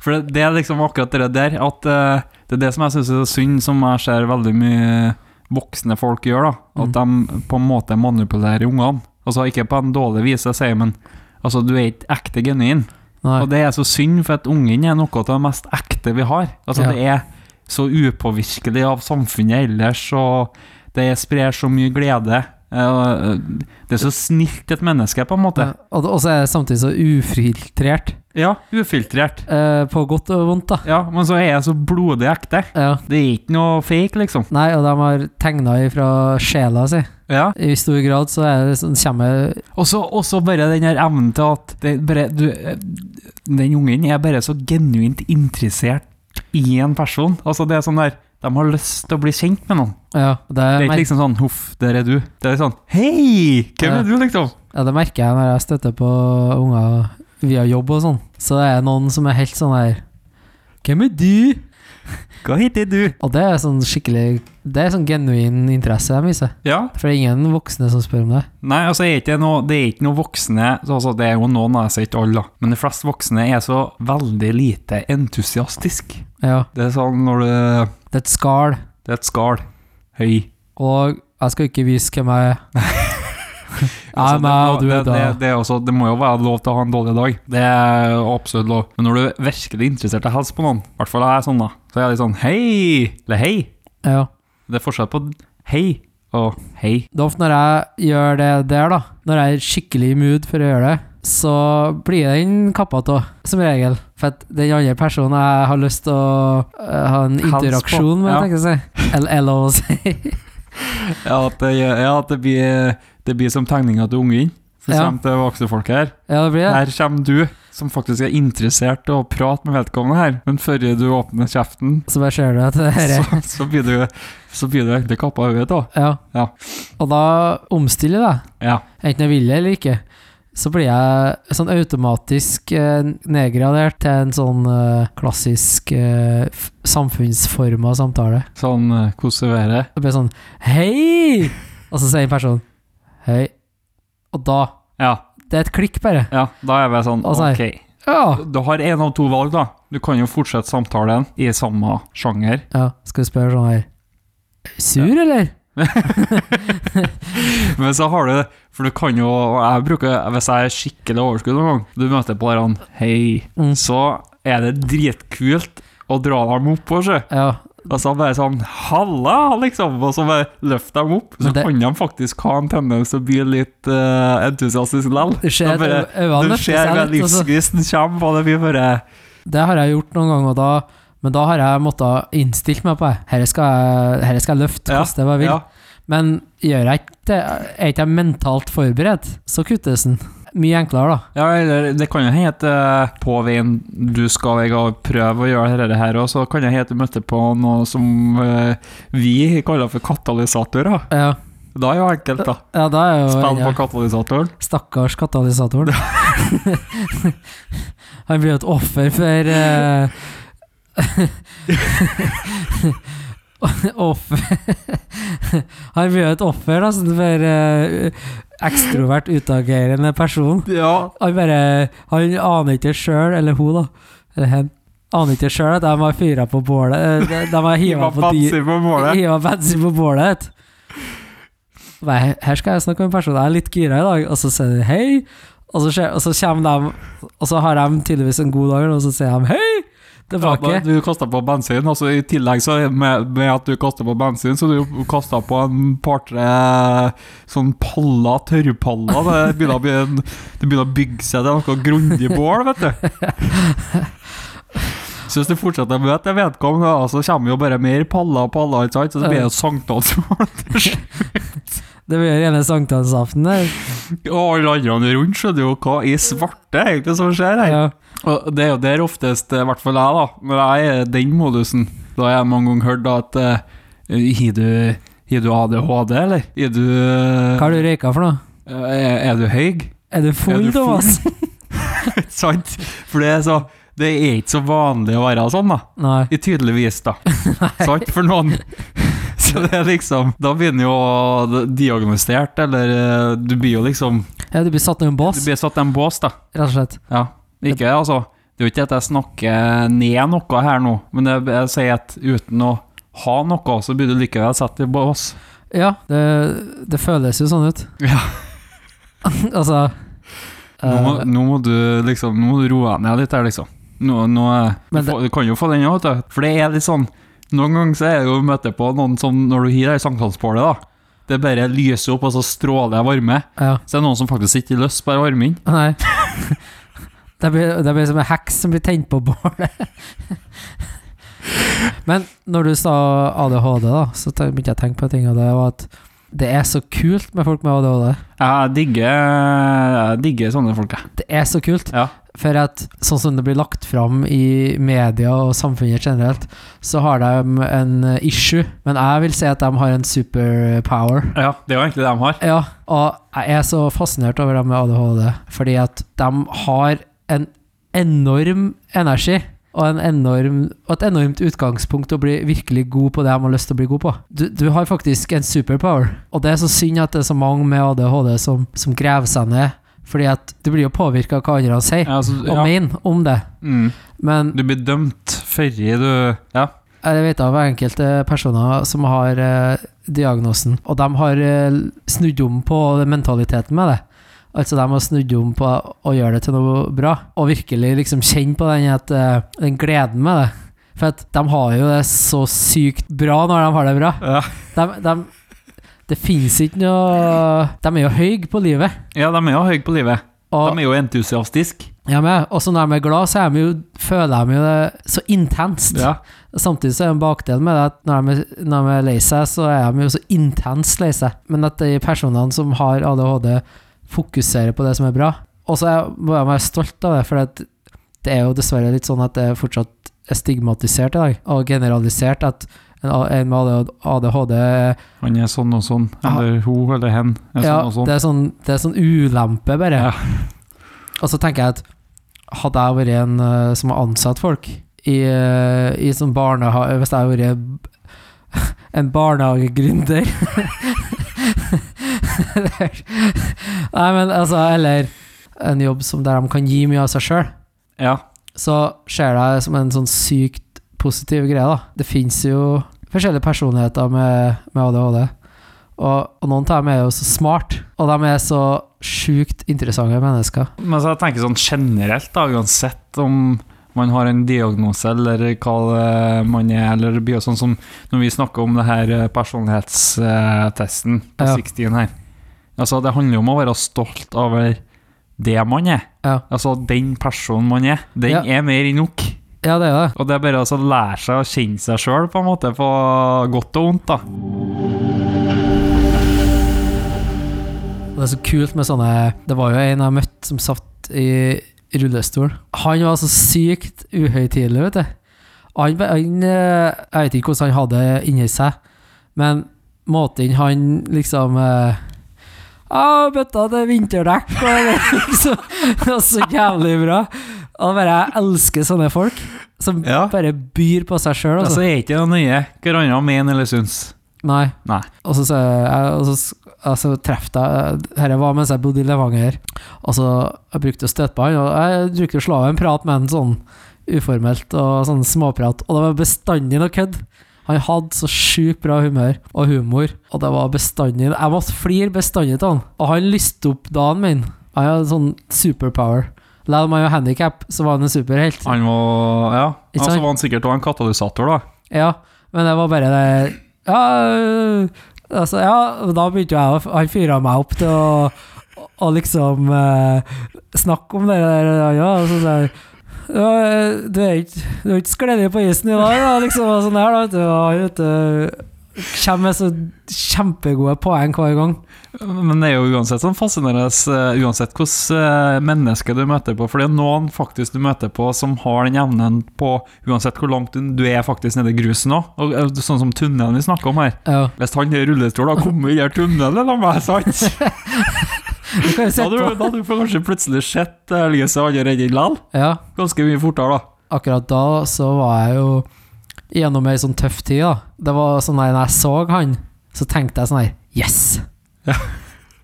S2: For det, det er liksom akkurat det der at eh, Det er det som jeg syns er så synd, som jeg ser veldig mye voksne folk gjør. da At
S1: Mm.
S2: de på en måte manipulerer ungene. Altså Ikke på en dårlig vis, jeg sier, men altså, du er ikke ekte genuin.
S1: Nei.
S2: Og det er så synd, for at ungen er noe av det mest ekte vi har. Altså
S1: Ja.
S2: Det er så upåvirkelig av samfunnet ellers, og det sprer så mye glede. Eh, Det er så snilt et menneske, på en måte.
S1: Ja, Og og så er det samtidig så ufiltrert,
S2: Ja, ufiltrert.
S1: eh, på godt og vondt, da.
S2: Ja, men så er jeg så blodig ekte.
S1: Ja.
S2: Det er ikke noe fake, liksom.
S1: Nei, og de har tegna ifra sjela si.
S2: Ja.
S1: I stor grad så er det sånn kommer
S2: Og så og så bare den her evnen til at det er bare, du, eh, Den ungen er bare så genuint interessert i en person. Altså, det er sånn der De har lyst til å bli kjent med noen.
S1: Ja, det,
S2: Det er
S1: mer
S2: ikke liksom sånn 'huff, der er du'. Det er sånn 'hei, hvem
S1: Ja.
S2: er du', liksom.
S1: ja, det merker jeg når jeg støtter på unger via jobb og sånn. Så det er noen som er helt sånn her Hvem er du?
S2: Hva heter du?
S1: Og det er sånn skikkelig Det er sånn genuin interesse de viser.
S2: Ja,
S1: For det er ingen voksne som spør om det.
S2: Nei, altså er ikke noe, det er ikke noe voksne så altså, Det er jo noen, da, jeg sier ikke alle, da. men de fleste voksne er så veldig lite entusiastisk.
S1: Ja,
S2: Det er sånn når du
S1: det er et skall,
S2: Det er et skall. Høy.
S1: og jeg skal ikke vise hvem
S2: *laughs*
S1: jeg er. *laughs*
S2: Altså,
S1: Jeg er meg, og du
S2: det,
S1: er
S2: det, det,
S1: da.
S2: det, er også, det må jo være lov til å ha en dårlig dag. Det er absolutt lov. Men når du er virkelig interessert i helse på noen, i hvert fall er jeg sånn, da, så er jeg litt sånn hei, eller hei.
S1: Ja.
S2: Det er forskjell på hei og hei.
S1: Det er ofte når jeg gjør det der, da, når jeg er skikkelig i mood for å gjøre det, så blir det den kappa av, som regel. For at den andre personen jeg har lyst til å eh, ha en
S2: Hands på,
S1: interaksjon med,
S2: ja.
S1: tenker jeg å si. Eller eller å si.
S2: Ja, at det, ja, at det, blir, det blir som tegninga til ungen. Så
S1: Ja.
S2: kommer det voksne folk her.
S1: Ja, det blir det.
S2: Her kommer du, som faktisk er interessert i å prate med vedkommende her, men før du åpner kjeften,
S1: Så bare ser du at det her
S2: så,
S1: er
S2: så blir du så blir du egentlig kappa av hodet, da.
S1: ja.
S2: Ja.
S1: Og da omstiller jeg, da.
S2: Ja.
S1: Enten jeg vil det eller ikke. Så blir jeg sånn automatisk eh, nedgradert til en sånn eh, klassisk eh, f- samfunnsforma samtale.
S2: Sånn eh, Hvordan er det?
S1: Det ble sånn Hei! Og så sier en person Hei. Og da
S2: Ja,
S1: Det er et klikk, bare.
S2: ja, da er jeg sånn
S1: Og så er- Ah.
S2: Ok.
S1: Ja.
S2: Du har én av to valg, da. Du kan jo fortsette samtalen i samme sjanger. *laughs*
S1: ja skal du spørre sånn her Sur, eller?
S2: Men så har du For du kan jo og jeg bruker, Hvis jeg er skikkelig overskudd noen gang, du møter på der han Hei.
S1: Mm.
S2: Så er det dritkult å dra dem opp på, sjø.
S1: Ja.
S2: Og så bare sånn Halla! liksom Og så bare løft dem opp. Så
S1: Men det-
S2: kan de faktisk ha en tendens til å bli litt uh, entusiastisk likevel.
S1: Du ser
S2: Da
S1: at
S2: bare-
S1: ø- øynene
S2: Du
S1: løfter
S2: ser
S1: seg litt.
S2: hva
S1: altså. og så-
S2: livsgnisten kommer, og det blir bare
S1: Det har jeg gjort noen ganger, og da men da har jeg måttet innstilt meg på det. Dette skal, jeg- herre skal jeg løfte,
S2: Ja,
S1: koste hva jeg vil.
S2: ja.
S1: Men gjør jeg ikke det, er ikke jeg mentalt forberedt, så kuttes den. Mye enklere, da.
S2: ja, eller det kan jo hende at eh, på veien du skal jeg og prøve å gjøre dette her òg, så kan det hende at du møtte på noe som eh, vi kaller for katalysatorer.
S1: Ja,
S2: Da er jo enkelt, da.
S1: ja da er jo
S2: Spill
S1: ja.
S2: på katalysatoren.
S1: Stakkars katalysatoren. *laughs* Han blir jo et offer for eh, *laughs* Offer Han blir jo et offer da, sånn for eh, ekstrovert, utagerende person.
S2: Ja.
S1: Han bare Han aner ikke sjøl, eller hun, da. Eller hen. Aner ikke sjøl at de har fyra på bålet. eh, De *laughs* de har hiva
S2: Hiva
S1: på dyr.
S2: Batzy på målet.
S1: Hiva bensin på bålet. Nei, her- her skal jeg snakke med en person jeg er litt gira i dag, og så sier de hei. Og så, skjer, og så kommer de, og så har de tydeligvis en god dag, og så sier de hei tilbake.
S2: Ja, da- du kasta på bensin, og så i tillegg så med, med at du kasta på bensin, så du kasta på en par-tre sånn paller, tørrpaller. Det begynner, å bli en- det begynner å bygge seg til noe grundig bål, vet du. Så hvis du fortsetter å møte vedkommende, da, så kommer jo bare mer paller og paller, ikke sant? så det blir jo sankthansmål.
S1: Det blir gjerne sankthansaften der.
S2: Og *laughs* alle andre rundt skjønner jo hva i svarte egentlig som skjer her.
S1: Ja.
S2: Og det er jo der oftest, eh, i hvert fall jeg, da, når jeg er i den modusen, da har jeg mange ganger hørt da at eh, Har du, har du ADHD, eller? Har du
S1: Hva har du røyka for noe?
S2: eh, Er, er du høy? *laughs*
S1: Er du
S2: Er
S1: full,
S2: du full?
S1: Thomas? *laughs*
S2: Ikke sant? For det er, så, det er ikke så vanlig å være sånn, da.
S1: Nei.
S2: I tydeligvis,
S1: *laughs*
S2: da. Sant? For noen. *laughs* Så det er liksom Da blir den jo diagnostisert, eller eh, du blir jo liksom
S1: Ja, du blir satt i en
S2: Du
S1: bås,
S2: blir satt i en bås, da.
S1: rett og slett.
S2: Ja, ikke altså Det er jo ikke at jeg snakker ned noe her nå, men jeg, jeg sier at uten å ha noe, så burde du likevel sette det på oss.
S1: Ja, det, det føles jo sånn ut.
S2: Ja.
S1: *laughs* altså
S2: Nå må,
S1: eh,
S2: nå må du liksom Nå må du roe deg ned litt her, liksom. Nå, nå, er-
S1: Men
S2: du, får, du kan jo få den òg, vet du. For det er litt sånn Noen ganger så er det jo å møte på noen som når du hiver i sankthansbålet, da. Det bare lyser opp, og så stråler det varme.
S1: Ja.
S2: Så det er noen som faktisk ikke har lyst på den varmen.
S1: Nei. *laughs* Det blir, det blir som en heks som blir tent på bålet. *laughs* Men når du sa ADHD, da, så te- begynte jeg å tenke på ting, og det var at det er så kult med folk med ADHD.
S2: Jeg digger, jeg digger sånne folk, jeg.
S1: Det er så kult.
S2: Ja.
S1: For at sånn som det blir lagt fram i media og samfunnet generelt, så har de en issue, men jeg vil si at de har en superpower.
S2: Ja, det er jo egentlig det de har.
S1: Ja, og jeg er så fascinert over dem med ADHD, fordi at de har en enorm energi. Og, en enorm, og et enormt utgangspunkt å bli virkelig god på det de har lyst til å bli god på. Du, du har faktisk en superpower, og det er så synd at det er så mange med ADHD som, som graver seg ned, fordi at du blir jo påvirka av hva andre sier
S2: Ja, altså,
S1: Eh, og
S2: ja.
S1: mener om det.
S2: Mm.
S1: Men
S2: Du blir dømt før du Ja.
S1: Jeg vet av enkelte personer som har eh, diagnosen, og de har eh, snudd om på mentaliteten med det. Altså De har snudd om på å gjøre det til noe bra, og virkelig liksom kjenne på den, at, eh, den gleden med det. For at de har jo det så sykt bra når de har det bra.
S2: ja.
S1: De, de, det fins ikke noe De er jo høye på livet.
S2: Ja, de er jo høye på livet.
S1: Og,
S2: De er jo entusiastiske.
S1: ja, men, også når de er glad, så er de jo, føler de jo det så intenst.
S2: Ja.
S1: Samtidig så er en bakdel med det at når de, er- når de er lei seg, så er de jo så intenst lei seg. Men at de personene som har ADHD, fokuserer på det som er bra. Og så er- må jeg være stolt av det, for at det er jo dessverre litt sånn at det fortsatt er stigmatisert i dag, og generalisert at en A- en med ADHD er
S2: Han er sånn og sånn.
S1: Ja.
S2: Eller hun eller hen er
S1: ja,
S2: sånn og sånn.
S1: Det er sånn, det er sånn ulempe, bare.
S2: Ja.
S1: Og så tenker jeg at hadde jeg vært en eh, som har ansatt folk i, eh, i sånn barnehage Hvis jeg hadde vært *laughs* en barnehagegründer *laughs* Nei, men altså Eller en jobb som der de kan gi mye av seg sjøl
S2: Ja.
S1: så ser jeg det som en sånn sykt positiv greie, da. Det fins jo forskjellige personligheter med, med ADHD. Og, og noen av dem er jo så smart, og de er så sjukt interessante mennesker.
S2: Men så jeg tenker sånn generelt, da, uansett om man har en diagnose eller hva det man er, eller det blir jo sånn som når vi snakker om det her eh, personlighetstesten på
S1: Ja.
S2: 60 her. Altså, det handler jo om å være stolt over det man er.
S1: Ja.
S2: Altså den personen man er. Den
S1: Ja.
S2: er mer enn nok.
S1: Ja, det er jo det.
S2: Og det er bare altså, å lære seg å kjenne seg sjøl, på en måte, på godt og vondt, da.
S1: Og det er så kult med sånne Det var jo en jeg møtte som satt i rullestol. Han var så sykt uhøytidelig, vet du. Han, han eh, Jeg vet ikke hvordan han hadde det inni seg, men måten han liksom eh, «Ah, bøtta til vinterdekk og det liksom, det var *laughs* så jævlig bra. Og bare Jeg elsker sånne folk som
S2: Ja.
S1: bare byr på seg sjøl.
S2: Altså,
S1: Altså.
S2: jeg er ikke noe nøye hva andre mener eller syns.
S1: Nei.
S2: Nei.
S1: Og så, så, jeg, og så altså, treffet jeg Dette var mens jeg bodde i Levanger. Og så jeg brukte å støte på han, og jeg brukte å slå av en prat med han sånn uformelt og sånn småprat. Og det var bestandig noe kødd. Han hadde så sjukt bra humør og humor, og det var bestandig Jeg måtte flire bestandig til han, og han lyste opp dagen min. Han hadde sånn superpower. Selv om han var handikap, så var han en superhelt.
S2: Han var Ja. Og
S1: Ikke
S2: så
S1: sant?
S2: var han sikkert også en katalysator, da.
S1: Ja, men det var bare det Ja, øh, altså, ja da begynte jo jeg å Han fyra meg opp til å, å liksom eh, snakke om det der. Ja, og så sa jeg, ja, øh, du er ikke, du er ikke skledig på isen i dag, da, liksom. Og sånn her, da, vet du. Og han, vet du, kommer med så kjempegode poeng hver gang.
S2: Men det er jo uansett sånn fascinerende, eh, uansett hvilket menneske du møter på. For det er noen faktisk du møter på som har den evnen på uansett hvor langt du- du er faktisk nede i grusen òg. Og, eh, sånn som tunnelen vi snakker om her.
S1: Ja.
S2: Hvis han i rullestol har kommet i den tunnelen, da må
S1: *laughs*
S2: jeg sant?
S1: Du kan jo
S2: Da hadde
S1: sitte
S2: du- da hadde du kanskje plutselig sett eh, lyset allerede likevel.
S1: på. Ja.
S2: Ganske mye fortere, da.
S1: akkurat da så var jeg jo gjennom ei sånn tøff tid, da. Det var sånn der, når jeg så han, så tenkte jeg sånn her Yes!
S2: Ja.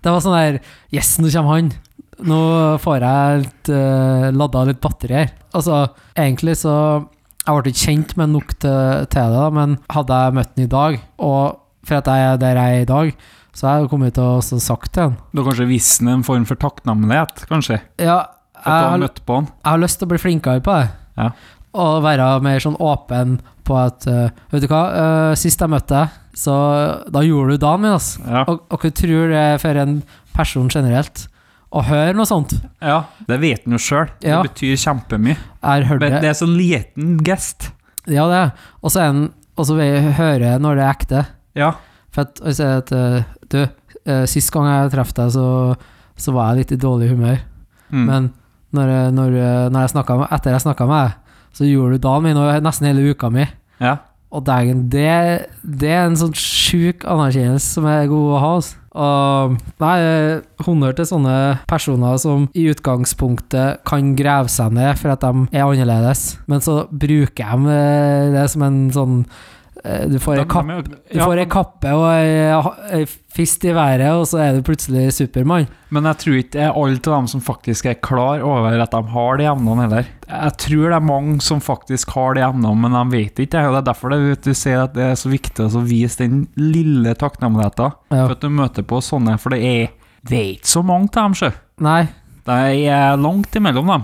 S1: Det var sånn der Yes, nå kommer han! Nå får jeg litt, eh, ladda litt batteri her. Altså, egentlig så Jeg ble ikke kjent med nok til, til det, da, men hadde jeg møtt han i dag, og for at jeg er der jeg er i dag, så har jeg jo kommet til å så sagt til han
S2: Du har kanskje vist ham en form for takknemlighet, kanskje?
S1: Ja, jeg
S2: At du har
S1: har
S2: møtt på han.
S1: jeg har lyst til å bli flinkere på det.
S2: Ja.
S1: Og være mer sånn åpen på at eh, Vet du hva, eh, sist jeg møtte deg, så da gjorde du dagen min, altså.
S2: Ja.
S1: Og, og hva tror det er for en person generelt å høre noe sånt?
S2: ja, det vet han jo sjøl. Det
S1: Ja.
S2: betyr kjempemye.
S1: Jeg har hørt
S2: Men
S1: det.
S2: det er sånn liten gest.
S1: Ja, det er Og så er den- og så vil jeg høre når det er ekte.
S2: Ja.
S1: For at, og jeg sier at eh, Du, eh, sist gang jeg traff deg, så, så var jeg litt i dårlig humør.
S2: Mm.
S1: Men Når, jeg- når, jeg- når jeg snakket med, etter jeg snakka med deg, så gjorde du dagen min og nesten hele uka mi.
S2: Ja.
S1: Og dægen, det, det er en sånn sjuk anerkjennelse som er god å ha. Altså. Og nei, eh, honnør til sånne personer som i utgangspunktet kan grave seg ned for at de er annerledes, men så bruker de eh, det som en sånn eh, Du får ei
S2: De-
S1: kappe,
S2: de er jo-
S1: du
S2: ja,
S1: får ei kappe og ei ha- ei fist i været, og så er du plutselig Supermann.
S2: Men jeg tror ikke det er alle av dem som faktisk er klar over at de har de evnene heller. Jeg tror det er mange som faktisk har de evnene, men de vet ikke det. og Det er derfor det, vet du sier at det er så viktig å vise den lille takknemligheten
S1: Ja.
S2: for at du møter på sånne, for det er, det er ikke så mange av dem, sjø.
S1: Nei.
S2: Det er langt imellom dem.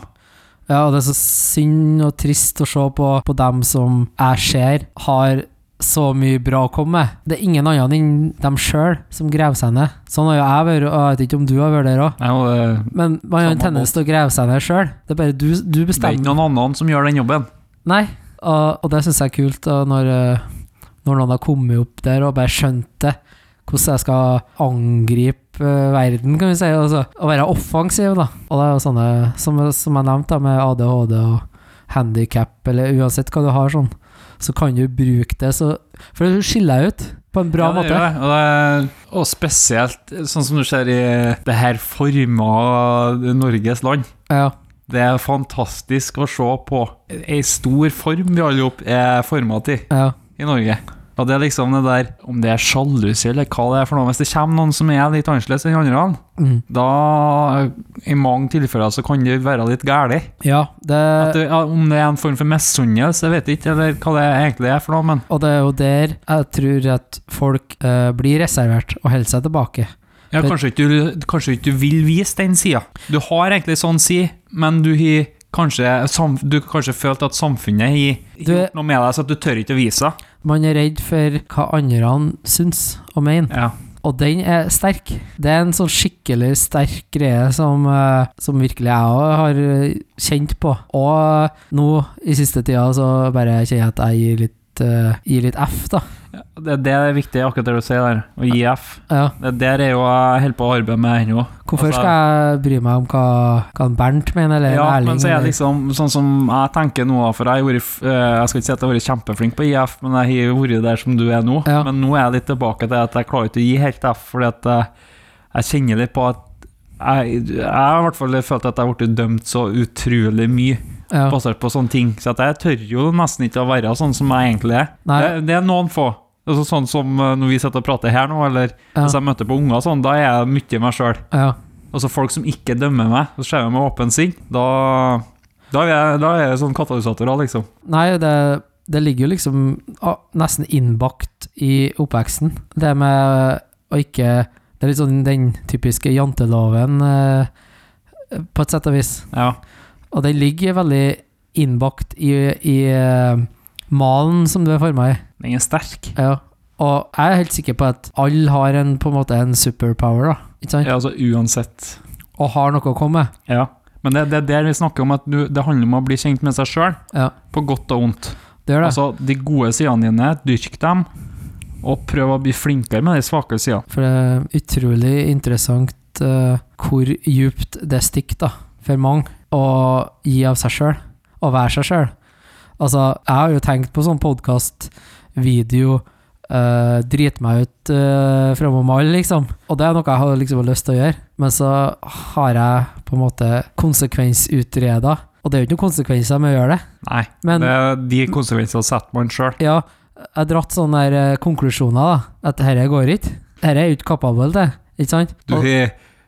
S1: Ja, og det er så synd og trist å se på, på dem som jeg ser har så mye bra å komme med. Det er ingen annen enn dem sjøl som graver seg ned. Sånn har jo jeg vært, og jeg vet ikke om du har vært der òg.
S2: Nei, og Det
S1: Men man har en
S2: Samme
S1: tendens til å grave seg ned sjøl. Det er bare du, du
S2: det er ikke
S1: bestemmer.
S2: noen annen som gjør den jobben.
S1: Nei, og, og det syns jeg er kult og når, eh, når noen har kommet opp der og bare skjønt det. Hvordan jeg skal angripe eh, verden, kan vi si. Og, så, og være offensiv, da. Og det er jo sånne, som, som jeg nevnte, da, med ADHD og handikap, eller uansett hva du har sånn, så kan du bruke det så For du skiller deg ut på en bra
S2: Ja, det
S1: måte.
S2: gjør det, Og, det, er- og spesielt sånn som du ser i det her forma Norges land.
S1: Ja,
S2: Det er fantastisk å se på ei stor form vi alle opp er forma til
S1: ja,
S2: i Norge. Og det er liksom det der, Om det er sjalusi eller hva det er for noe Hvis det kommer noen som er litt annerledes enn andre,
S1: mm.
S2: da i mange tilfeller så kan det være litt gærlig.
S1: ja det,
S2: At det, ja, om det er en form for misunnelse, jeg vet ikke, eller hva det egentlig er for noe, men
S1: og det er jo der jeg tror at folk eh, blir reservert og holder seg tilbake.
S2: ja, kanskje, ikke du, kanskje ikke du vil vise den sida. Du har egentlig sånn si, men du har kanskje, sam- du har kanskje følt at samfunnet har
S1: Du-
S2: gjort noe med deg, så at du tør ikke å vise det.
S1: Man er redd for hva andre syns og mener,
S2: Ja.
S1: og den er sterk. Det er en sånn skikkelig sterk greie som, eh, som virkelig jeg òg har eh, kjent på. Og nå i siste tida så bare kjenner jeg at jeg gir litt, eh, gir litt F, da.
S2: Det, det er viktig, akkurat det du sier der, å gi F.
S1: Ja.
S2: Det der er jo jeg holder på å arbeide med ennå.
S1: Hvorfor
S2: Altså-
S1: skal jeg bry meg om hva, hva en Bernt mener, eller
S2: Ja,
S1: en Erling?
S2: men så er
S1: eller-
S2: det liksom sånn som jeg tenker nå, for jeg, har vært, f- eh, jeg skal ikke si at jeg har vært kjempeflink på IF, men jeg har vært der som du er nå.
S1: Ja.
S2: Men nå er jeg litt tilbake til at jeg klarer ikke å gi helt F, fordi at jeg, jeg kjenner litt på at jeg, jeg har i hvert fall følt at jeg har blitt dømt så utrolig mye
S1: ja.
S2: basert på sånne ting, så at jeg tør jo nesten ikke å være sånn som jeg egentlig er.
S1: Nei,
S2: Det, det er noen få. Altså, sånn som eh, når vi sitter og prater her nå, eller
S1: ja,
S2: Hvis jeg møter på unger og sånn, da er jeg mye meg sjøl.
S1: ja.
S2: Altså folk som ikke dømmer meg, så ser jeg med åpen sinn. Da, da, er jeg, da er jeg sånn katalysator, da, liksom.
S1: Nei, det, det ligger jo liksom ah, nesten innbakt i oppveksten. Det med å ikke Det er litt sånn den typiske janteloven, eh, på et sett og vis.
S2: Ja.
S1: Og den ligger veldig innbakt i, i eh, malen som du er forma i.
S2: Den er sterk.
S1: Ja. Og jeg er helt sikker på at alle har en, på en måte en superpower, da. Ikke sant?
S2: Ja, altså uansett.
S1: Og har noe å komme med.
S2: Ja. Men det, det er der vi snakker om at du, det handler om å bli kjent med seg sjøl,
S1: Ja.
S2: på godt og vondt.
S1: Det gjør det.
S2: Altså, de gode sidene dine, dyrk dem, og prøv å bli flinkere med de svake sidene.
S1: For det er utrolig interessant eh, hvor djupt det stikker da, for mange å gi av seg sjøl, å være seg sjøl. Altså, jeg har jo tenkt på sånn podkast, video, eh, drite meg ut uh, framom alle, liksom. Og det er noe jeg har liksom lyst til å gjøre, men så har jeg på en måte konsekvensutreda, og det er jo ikke noen konsekvenser med å gjøre det.
S2: Nei,
S1: Men-
S2: det er de konsekvensene setter man sjøl.
S1: Ja, jeg har dratt sånne der, eh, konklusjoner, da, at dette går ikke. Dette er jeg ikke kapabel til, ikke sant?
S2: Du
S1: Og-
S2: har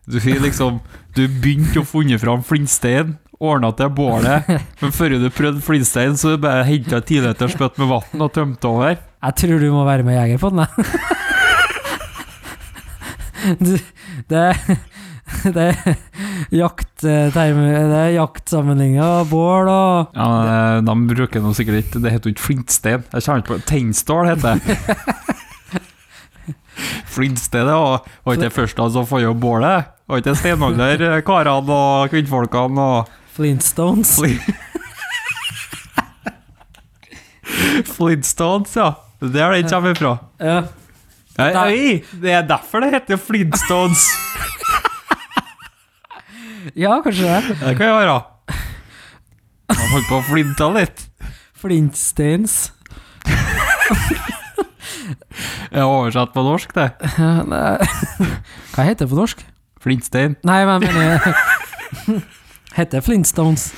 S2: du har liksom Du begynte å funne fram flintstein, ordna til *laughs* bålet, men før du prøvde flintstein, så bare henta jeg tidligere spytt med vann og tømte over.
S1: Jeg tror du må være med jeger på den, jeg. *laughs* Du, det Det er jaktterm... Det er jaktsammenligninger og bål og
S2: Ja, men, eh, De bruker nå sikkert ikke Det heter jo ikke flintstein. Jeg kommer ikke på Tennstål heter det. *laughs* Flintstein det var var ikke det første som fant opp bålet. Var ikke det steinalderkarene og kvinnfolkene og
S1: Flintstones.
S2: Flintstones, ja. Det er der den kommer ifra.
S1: Ja.
S2: Nei,
S1: Nei.
S2: oi, det er derfor det heter Flintstones.
S1: Ja, kanskje det.
S2: Det kan jeg være. Han holdt på å flinte litt.
S1: Flintsteins.
S2: Jeg har oversatt på norsk, det.
S1: Nei. Hva heter det på norsk?
S2: Flintstein.
S1: Nei, men jeg mener Heter Flintstones.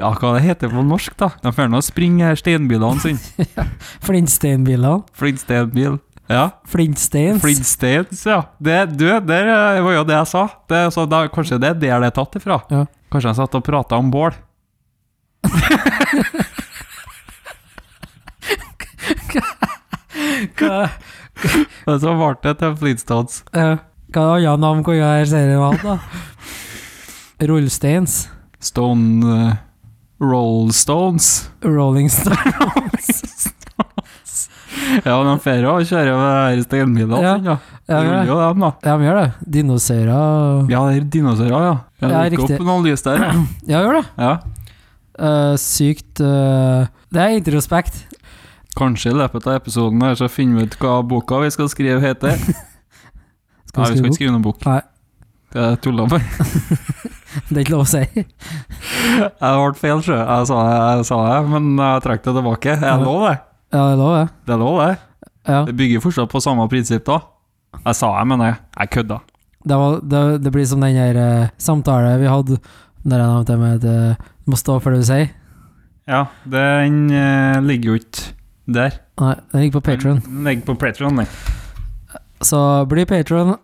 S2: Ja, hva det heter på norsk, da? De får nå springe her steinbilene sine.
S1: Flintsteinbilene.
S2: Flintsteinbil. Ja.
S1: Flintsteins.
S2: Flintsteins, ja. Det, du, der eh, var jo det jeg sa. Det, så da, kanskje det er der det er tatt ifra.
S1: Ja.
S2: Kanskje han satt og prata om bål.
S1: Hva,
S2: Og så ble det til Flintstones.
S1: eh, hva annet navn kunne jeg serien hatt, da? Rullsteins.
S2: Stone eh, Rollstones.
S1: Rolling
S2: *laughs*
S1: Stones.
S2: Ja, de får jo kjøre med de her steinbilene
S1: Ja.
S2: sine, ja.
S1: Ja,
S2: Det
S1: gjør
S2: gjorde
S1: det.
S2: jo dem, da.
S1: ja, de gjør det. Dinosaurer
S2: Ja, det er dinosaurer, Mm. ja. Jeg
S1: Ja,
S2: dukker
S1: riktig.
S2: opp noen lys der. *clears throat* ja.
S1: Ja, gjør det.
S2: Ja.
S1: Eh, sykt eh, Det er introspekt.
S2: Kanskje i løpet av episoden her så finner vi ut hva boka vi *laughs* skal skrive heter. Nei, vi skal ikke skrive noen bok.
S1: Nei. *laughs*
S2: Det er tulla med.
S1: Det er ikke lov å si.
S2: *laughs* Jeg ble feil, sjø. Jeg sa det, jeg sa det, men jeg trakk det tilbake. Er det lov, det?
S1: Ja, det er lov, det.
S2: Det er lov, det.
S1: Ja.
S2: Det bygger fortsatt på samme prinsipp, da. Jeg sa det, men jeg, jeg kødda.
S1: Det, var, det, det blir som den her eh, samtalen vi hadde når jeg nevnte med at eh, du må stå for det du sier.
S2: Ja, den eh, ligger jo ikke der.
S1: Nei, den ligger på Patron.
S2: Den ligger på Patron, den.
S1: Så bli Patron.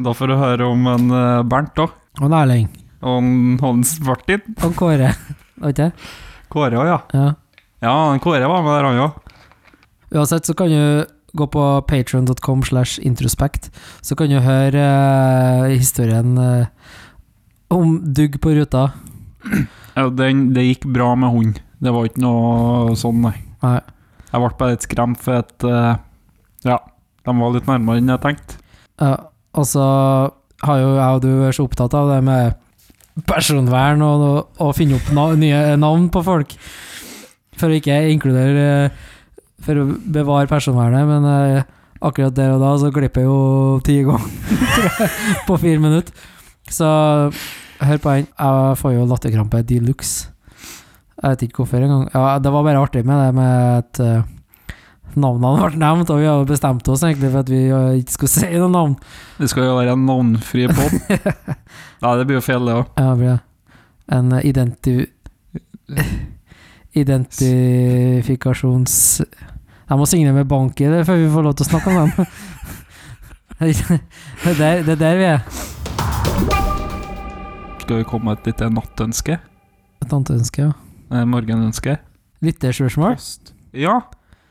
S2: Da får du høre om en eh, Bernt, da.
S1: Og Erling.
S2: Og en Hans Martin.
S1: Og Kåre. *laughs* Var ikke det?
S2: Kåre òg, ja.
S1: Ja.
S2: Ja, han Kåre var med der, han òg.
S1: Uansett så kan du gå på patron.com slash introspekt, så kan du høre eh, historien eh, om dugg på ruta.
S2: Ja, den, det gikk bra med hund. Det var ikke noe sånn, nei.
S1: Nei.
S2: Jeg ble bare litt skremt for at eh, Ja, de var litt nærmere enn jeg tenkte.
S1: Ja, og så har jo jeg og du vært så opptatt av det med personvern og å finne opp na nye navn på folk, for å ikke inkludere eh, For å bevare personvernet, men eh, akkurat der og da så glipper jeg jo ti ganger *laughs* på fire minutter. Så hør på den. Jeg får jo latterkrampe de luxe. Jeg vet ikke hvorfor engang. Ja, det var bare artig med det med at eh, navnene ble nevnt, og vi har jo bestemt oss egentlig for at vi eh, ikke skulle si noen navn.
S2: Det skal jo være en navnfri
S1: *laughs*
S2: pod. nei, det blir jo feil, det òg.
S1: Ja, det blir det. En eh, identi... Identifikasjons... Jeg må signere med bank i det før vi får lov til å snakke om den. *laughs* det, er der, det er der vi er.
S2: Skal vi komme med et lite nattønske?
S1: Et annet ønske, ja.
S2: Eh, morgenønske?
S1: Lytterspørsmål?
S2: Post. Ja.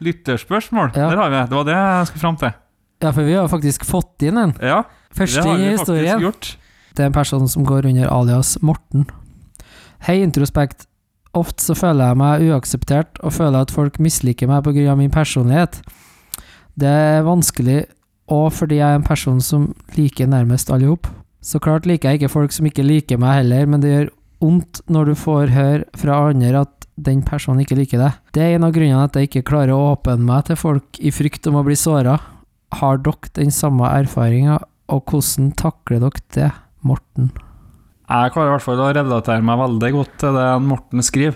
S2: Lytterspørsmål.
S1: Ja.
S2: Der har vi det. Det var det jeg skulle fram til.
S1: Ja, for vi har faktisk fått inn en.
S2: Ja, det
S1: Første i
S2: har vi faktisk
S1: historien.
S2: gjort.
S1: Det er en person som går under alias Morten. Hei, introspekt. Ofte så føler jeg meg uakseptert og føler at folk misliker meg pga. min personlighet. Det er vanskelig, og fordi jeg er en person som liker nærmest alle i hop. Så klart liker jeg ikke folk som ikke liker meg heller, men det gjør vondt når du får høre fra andre at den personen ikke liker deg. Det er en av grunnene at jeg ikke klarer å åpne meg til folk i frykt om å bli såra. Har dere den samme erfaringa, og hvordan takler dere det? Morten.
S2: Jeg klarer i hvert fall å relatere meg veldig godt til det Morten skriver.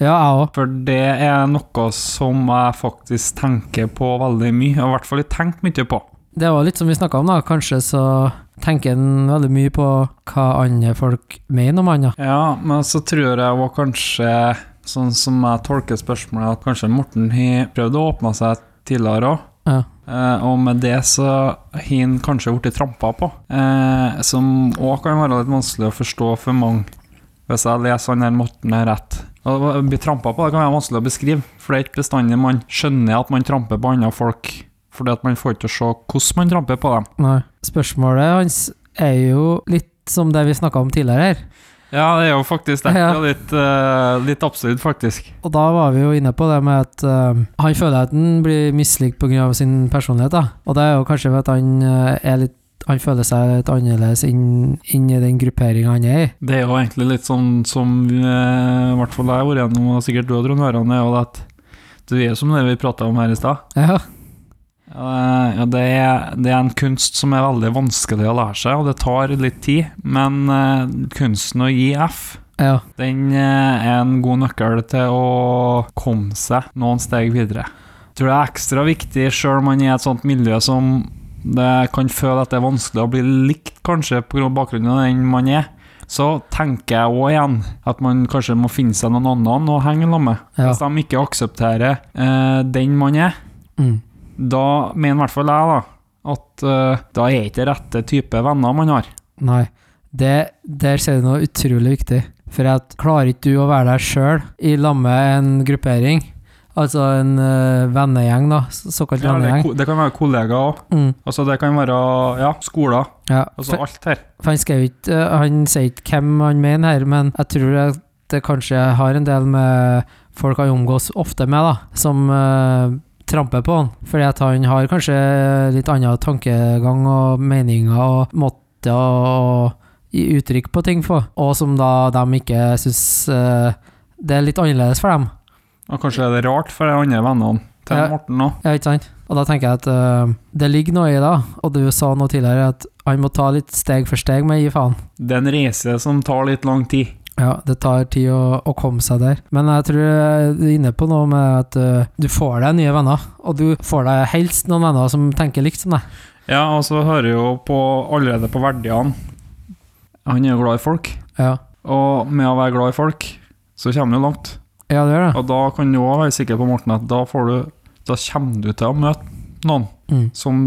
S1: Ja, jeg òg.
S2: For det er noe som jeg faktisk tenker på veldig mye, og i hvert fall jeg tenker mye på.
S1: Det var litt som vi snakka om, da. Kanskje så tenker en veldig mye på hva andre folk mener om andre.
S2: Ja, men så tror jeg også kanskje, sånn som jeg tolker spørsmålet, at kanskje Morten har prøvd å åpne seg tidligere òg.
S1: Ja.
S2: Eh, og med det så har han kanskje blitt trampa på, eh, som òg kan være litt vanskelig å forstå for mange, hvis jeg leser han her Morten her rett. Og Å bli trampa på det kan være vanskelig å beskrive, for det er ikke bestandig man skjønner at man tramper på andre folk, fordi at man får ikke se hvordan man tramper på dem.
S1: Nei. Spørsmålet hans er jo litt som det vi snakka om tidligere her.
S2: Ja, det er jo faktisk
S1: det.
S2: det.
S1: Det er
S2: litt, absurd, faktisk.
S1: Og da var vi jo inne på det med at eh, han føler at han blir mislikt pga. sin personlighet. da. Og det er jo kanskje ved at han eh, er litt han føler seg litt annerledes inn, inn i den grupperinga han er i.
S2: Det er jo egentlig litt sånn som eh, i hvert fall jeg har vært gjennom, og sikkert du og Trond Høran, er jo det at du er som det vi prata om her i stad.
S1: Ja,
S2: Eh, ja, det, er, det er en kunst som er veldig vanskelig å lære seg, og det tar litt tid. Men eh, kunsten å gi F,
S1: Ja.
S2: den eh, er en god nøkkel til å komme seg noen steg videre. Jeg tror det er ekstra viktig sjøl om man er i et sånt miljø som det kan føle at det er vanskelig å bli likt, kanskje, på grunn av bakgrunnen av den man er. Så tenker jeg òg igjen at man kanskje må finne seg noen annen å henge sammen med.
S1: Ja.
S2: Hvis de ikke aksepterer eh, den man er,
S1: Mm.
S2: da mener i hvert fall jeg da, at eh, da er ikke det rette type venner man har.
S1: Nei. Det, der sier du noe utrolig viktig. For at klarer ikke du å være deg sjøl i lag med en gruppering, altså en eh, vennegjeng, da, så- såkalt
S2: det,
S1: vennegjeng
S2: ko- det kan være kollegaer òg.
S1: mm.
S2: Altså, det kan være ja, skoler.
S1: ja.
S2: Altså
S1: for,
S2: alt her.
S1: for han skrev ikke eh, Han sier ikke hvem han mener her, men jeg tror at det kanskje har en del med folk han omgås ofte med, da, som eh, tramper på han. Fordi at han har kanskje litt annen tankegang og meninger og måte å gi uttrykk på ting på, og som da de ikke syns eh, det er litt annerledes for dem.
S2: Og kanskje er det rart for de andre vennene til
S1: Ja.
S2: Morten òg.
S1: Ja, ikke sant? Og da tenker jeg at eh, det ligger noe i det, og du sa noe tidligere at han må ta litt steg for steg med å gi faen.
S2: Det er en reise som tar litt lang tid.
S1: Ja, det tar tid å, å komme seg der. Men jeg tror du er inne på noe med at ø, du får deg nye venner, og du får deg helst noen venner som tenker likt som deg.
S2: Ja, og så hører jeg jo på, allerede på verdiene Han er jo glad i folk,
S1: Ja,
S2: og med å være glad i folk, så kommer du langt.
S1: ja det gjør det.
S2: Og da kan du òg være sikker på, Morten, at da, får du, da kommer du til å møte noen.
S1: Mm.
S2: som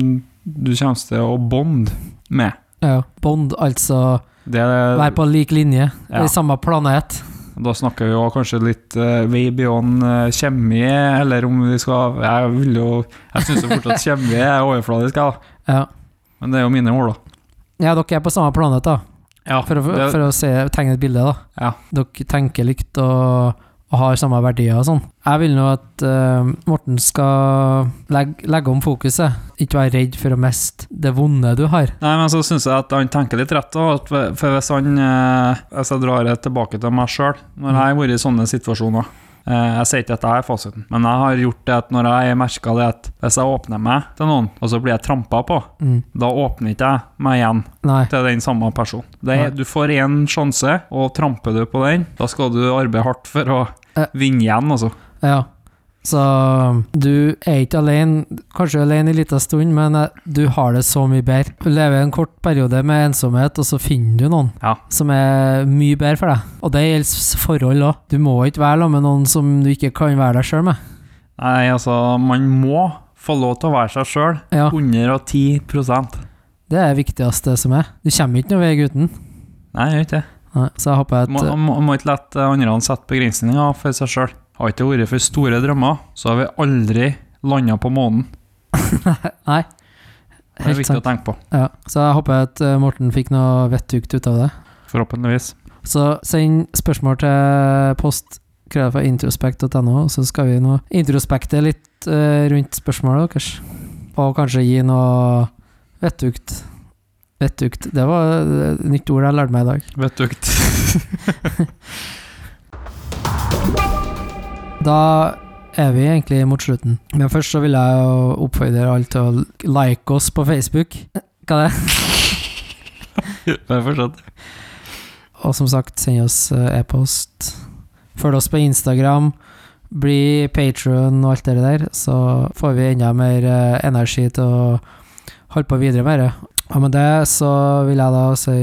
S2: du kommer til å bonde med.
S1: Ja. Bond, altså
S2: Det,
S1: være på lik linje,
S2: Ja.
S1: i samme planet.
S2: da snakker vi jo kanskje litt uh, way beyond eh, kjemi, eller om vi skal Jeg vil jo Jeg syns
S1: *laughs*
S2: fortsatt kjemi er overfladisk, jeg, da.
S1: Ja.
S2: Men det er jo mine ord, da.
S1: ja, dere er på samme planet, da,
S2: Ja,
S1: for å,
S2: det,
S1: for å se, tegne et bilde, da.
S2: Ja.
S1: Dere tenker likt og, og har samme verdier og sånn. Jeg vil nå at ø, Morten skal legge, legge om fokuset, ikke være redd for å miste det vonde du har.
S2: Nei, men så syns jeg at han tenker litt rett. da, at for- For hvis han eh, Hvis jeg drar det tilbake til meg sjøl, når jeg har vært i sånne situasjoner eh, Jeg sier ikke at jeg er fasiten, men jeg har gjort det at når jeg merker det at hvis jeg åpner meg til noen, og så blir jeg trampa på,
S1: Mm.
S2: da åpner ikke jeg meg igjen
S1: Nei.
S2: til den samme personen. Det er,
S1: Nei.
S2: du får én sjanse, og tramper du på den, da skal du arbeide hardt for å
S1: Eh.
S2: vinne igjen, altså.
S1: Ja. Så du er ikke alene, kanskje alene i lita stund, men eh, du har det så mye bedre. Du lever en kort periode med ensomhet, og så finner du noen
S2: Ja.
S1: som er mye bedre for deg. Og det gjelder s- forhold òg. Du må ikke være sammen med noen som du ikke kan være deg sjøl med.
S2: Nei, altså, man må få lov til å være seg sjøl.
S1: Ja,
S2: 110
S1: det er det viktigste som er. Du kommer ikke noen vei uten.
S2: Nei, jeg gjør ikke det.
S1: Nei, Så jeg håper at eh,
S2: Må, må, må ikke la andre sette begrensninger for seg sjøl. Har ikke det vært for store drømmer, så har vi aldri landa på månen.
S1: Nei.
S2: Det er
S1: eh, Helt
S2: viktig å
S1: sant.
S2: tenke på.
S1: Ja. Så jeg håper at eh, Morten fikk noe vettugt ut av det.
S2: Forhåpentligvis.
S1: Så send spørsmål til post krøll fra introspekt.no, så skal vi nå introspekte litt eh, rundt spørsmålet deres. Og kanskje gi noe vettugt. Vettugt. Det var et nytt ord jeg lærte meg i dag.
S2: Vet du ikke. *laughs*
S1: Da er vi egentlig mot slutten. Men først så vil jeg jo oppfordre alle til å like oss på Facebook. Hva det er.
S2: Bare fortsett.
S1: Og som sagt, send oss eh, e-post. Følg oss på Instagram. Bli patron og alt det der, så får vi enda mer eh, energi til å holde på videre med det. Og med det så vil jeg da si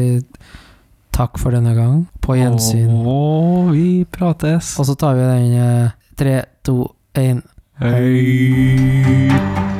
S1: takk for denne gang. På gjensyn.
S2: Og vi prates.
S1: Og så tar vi den eh, tre, to, én.
S2: Hei.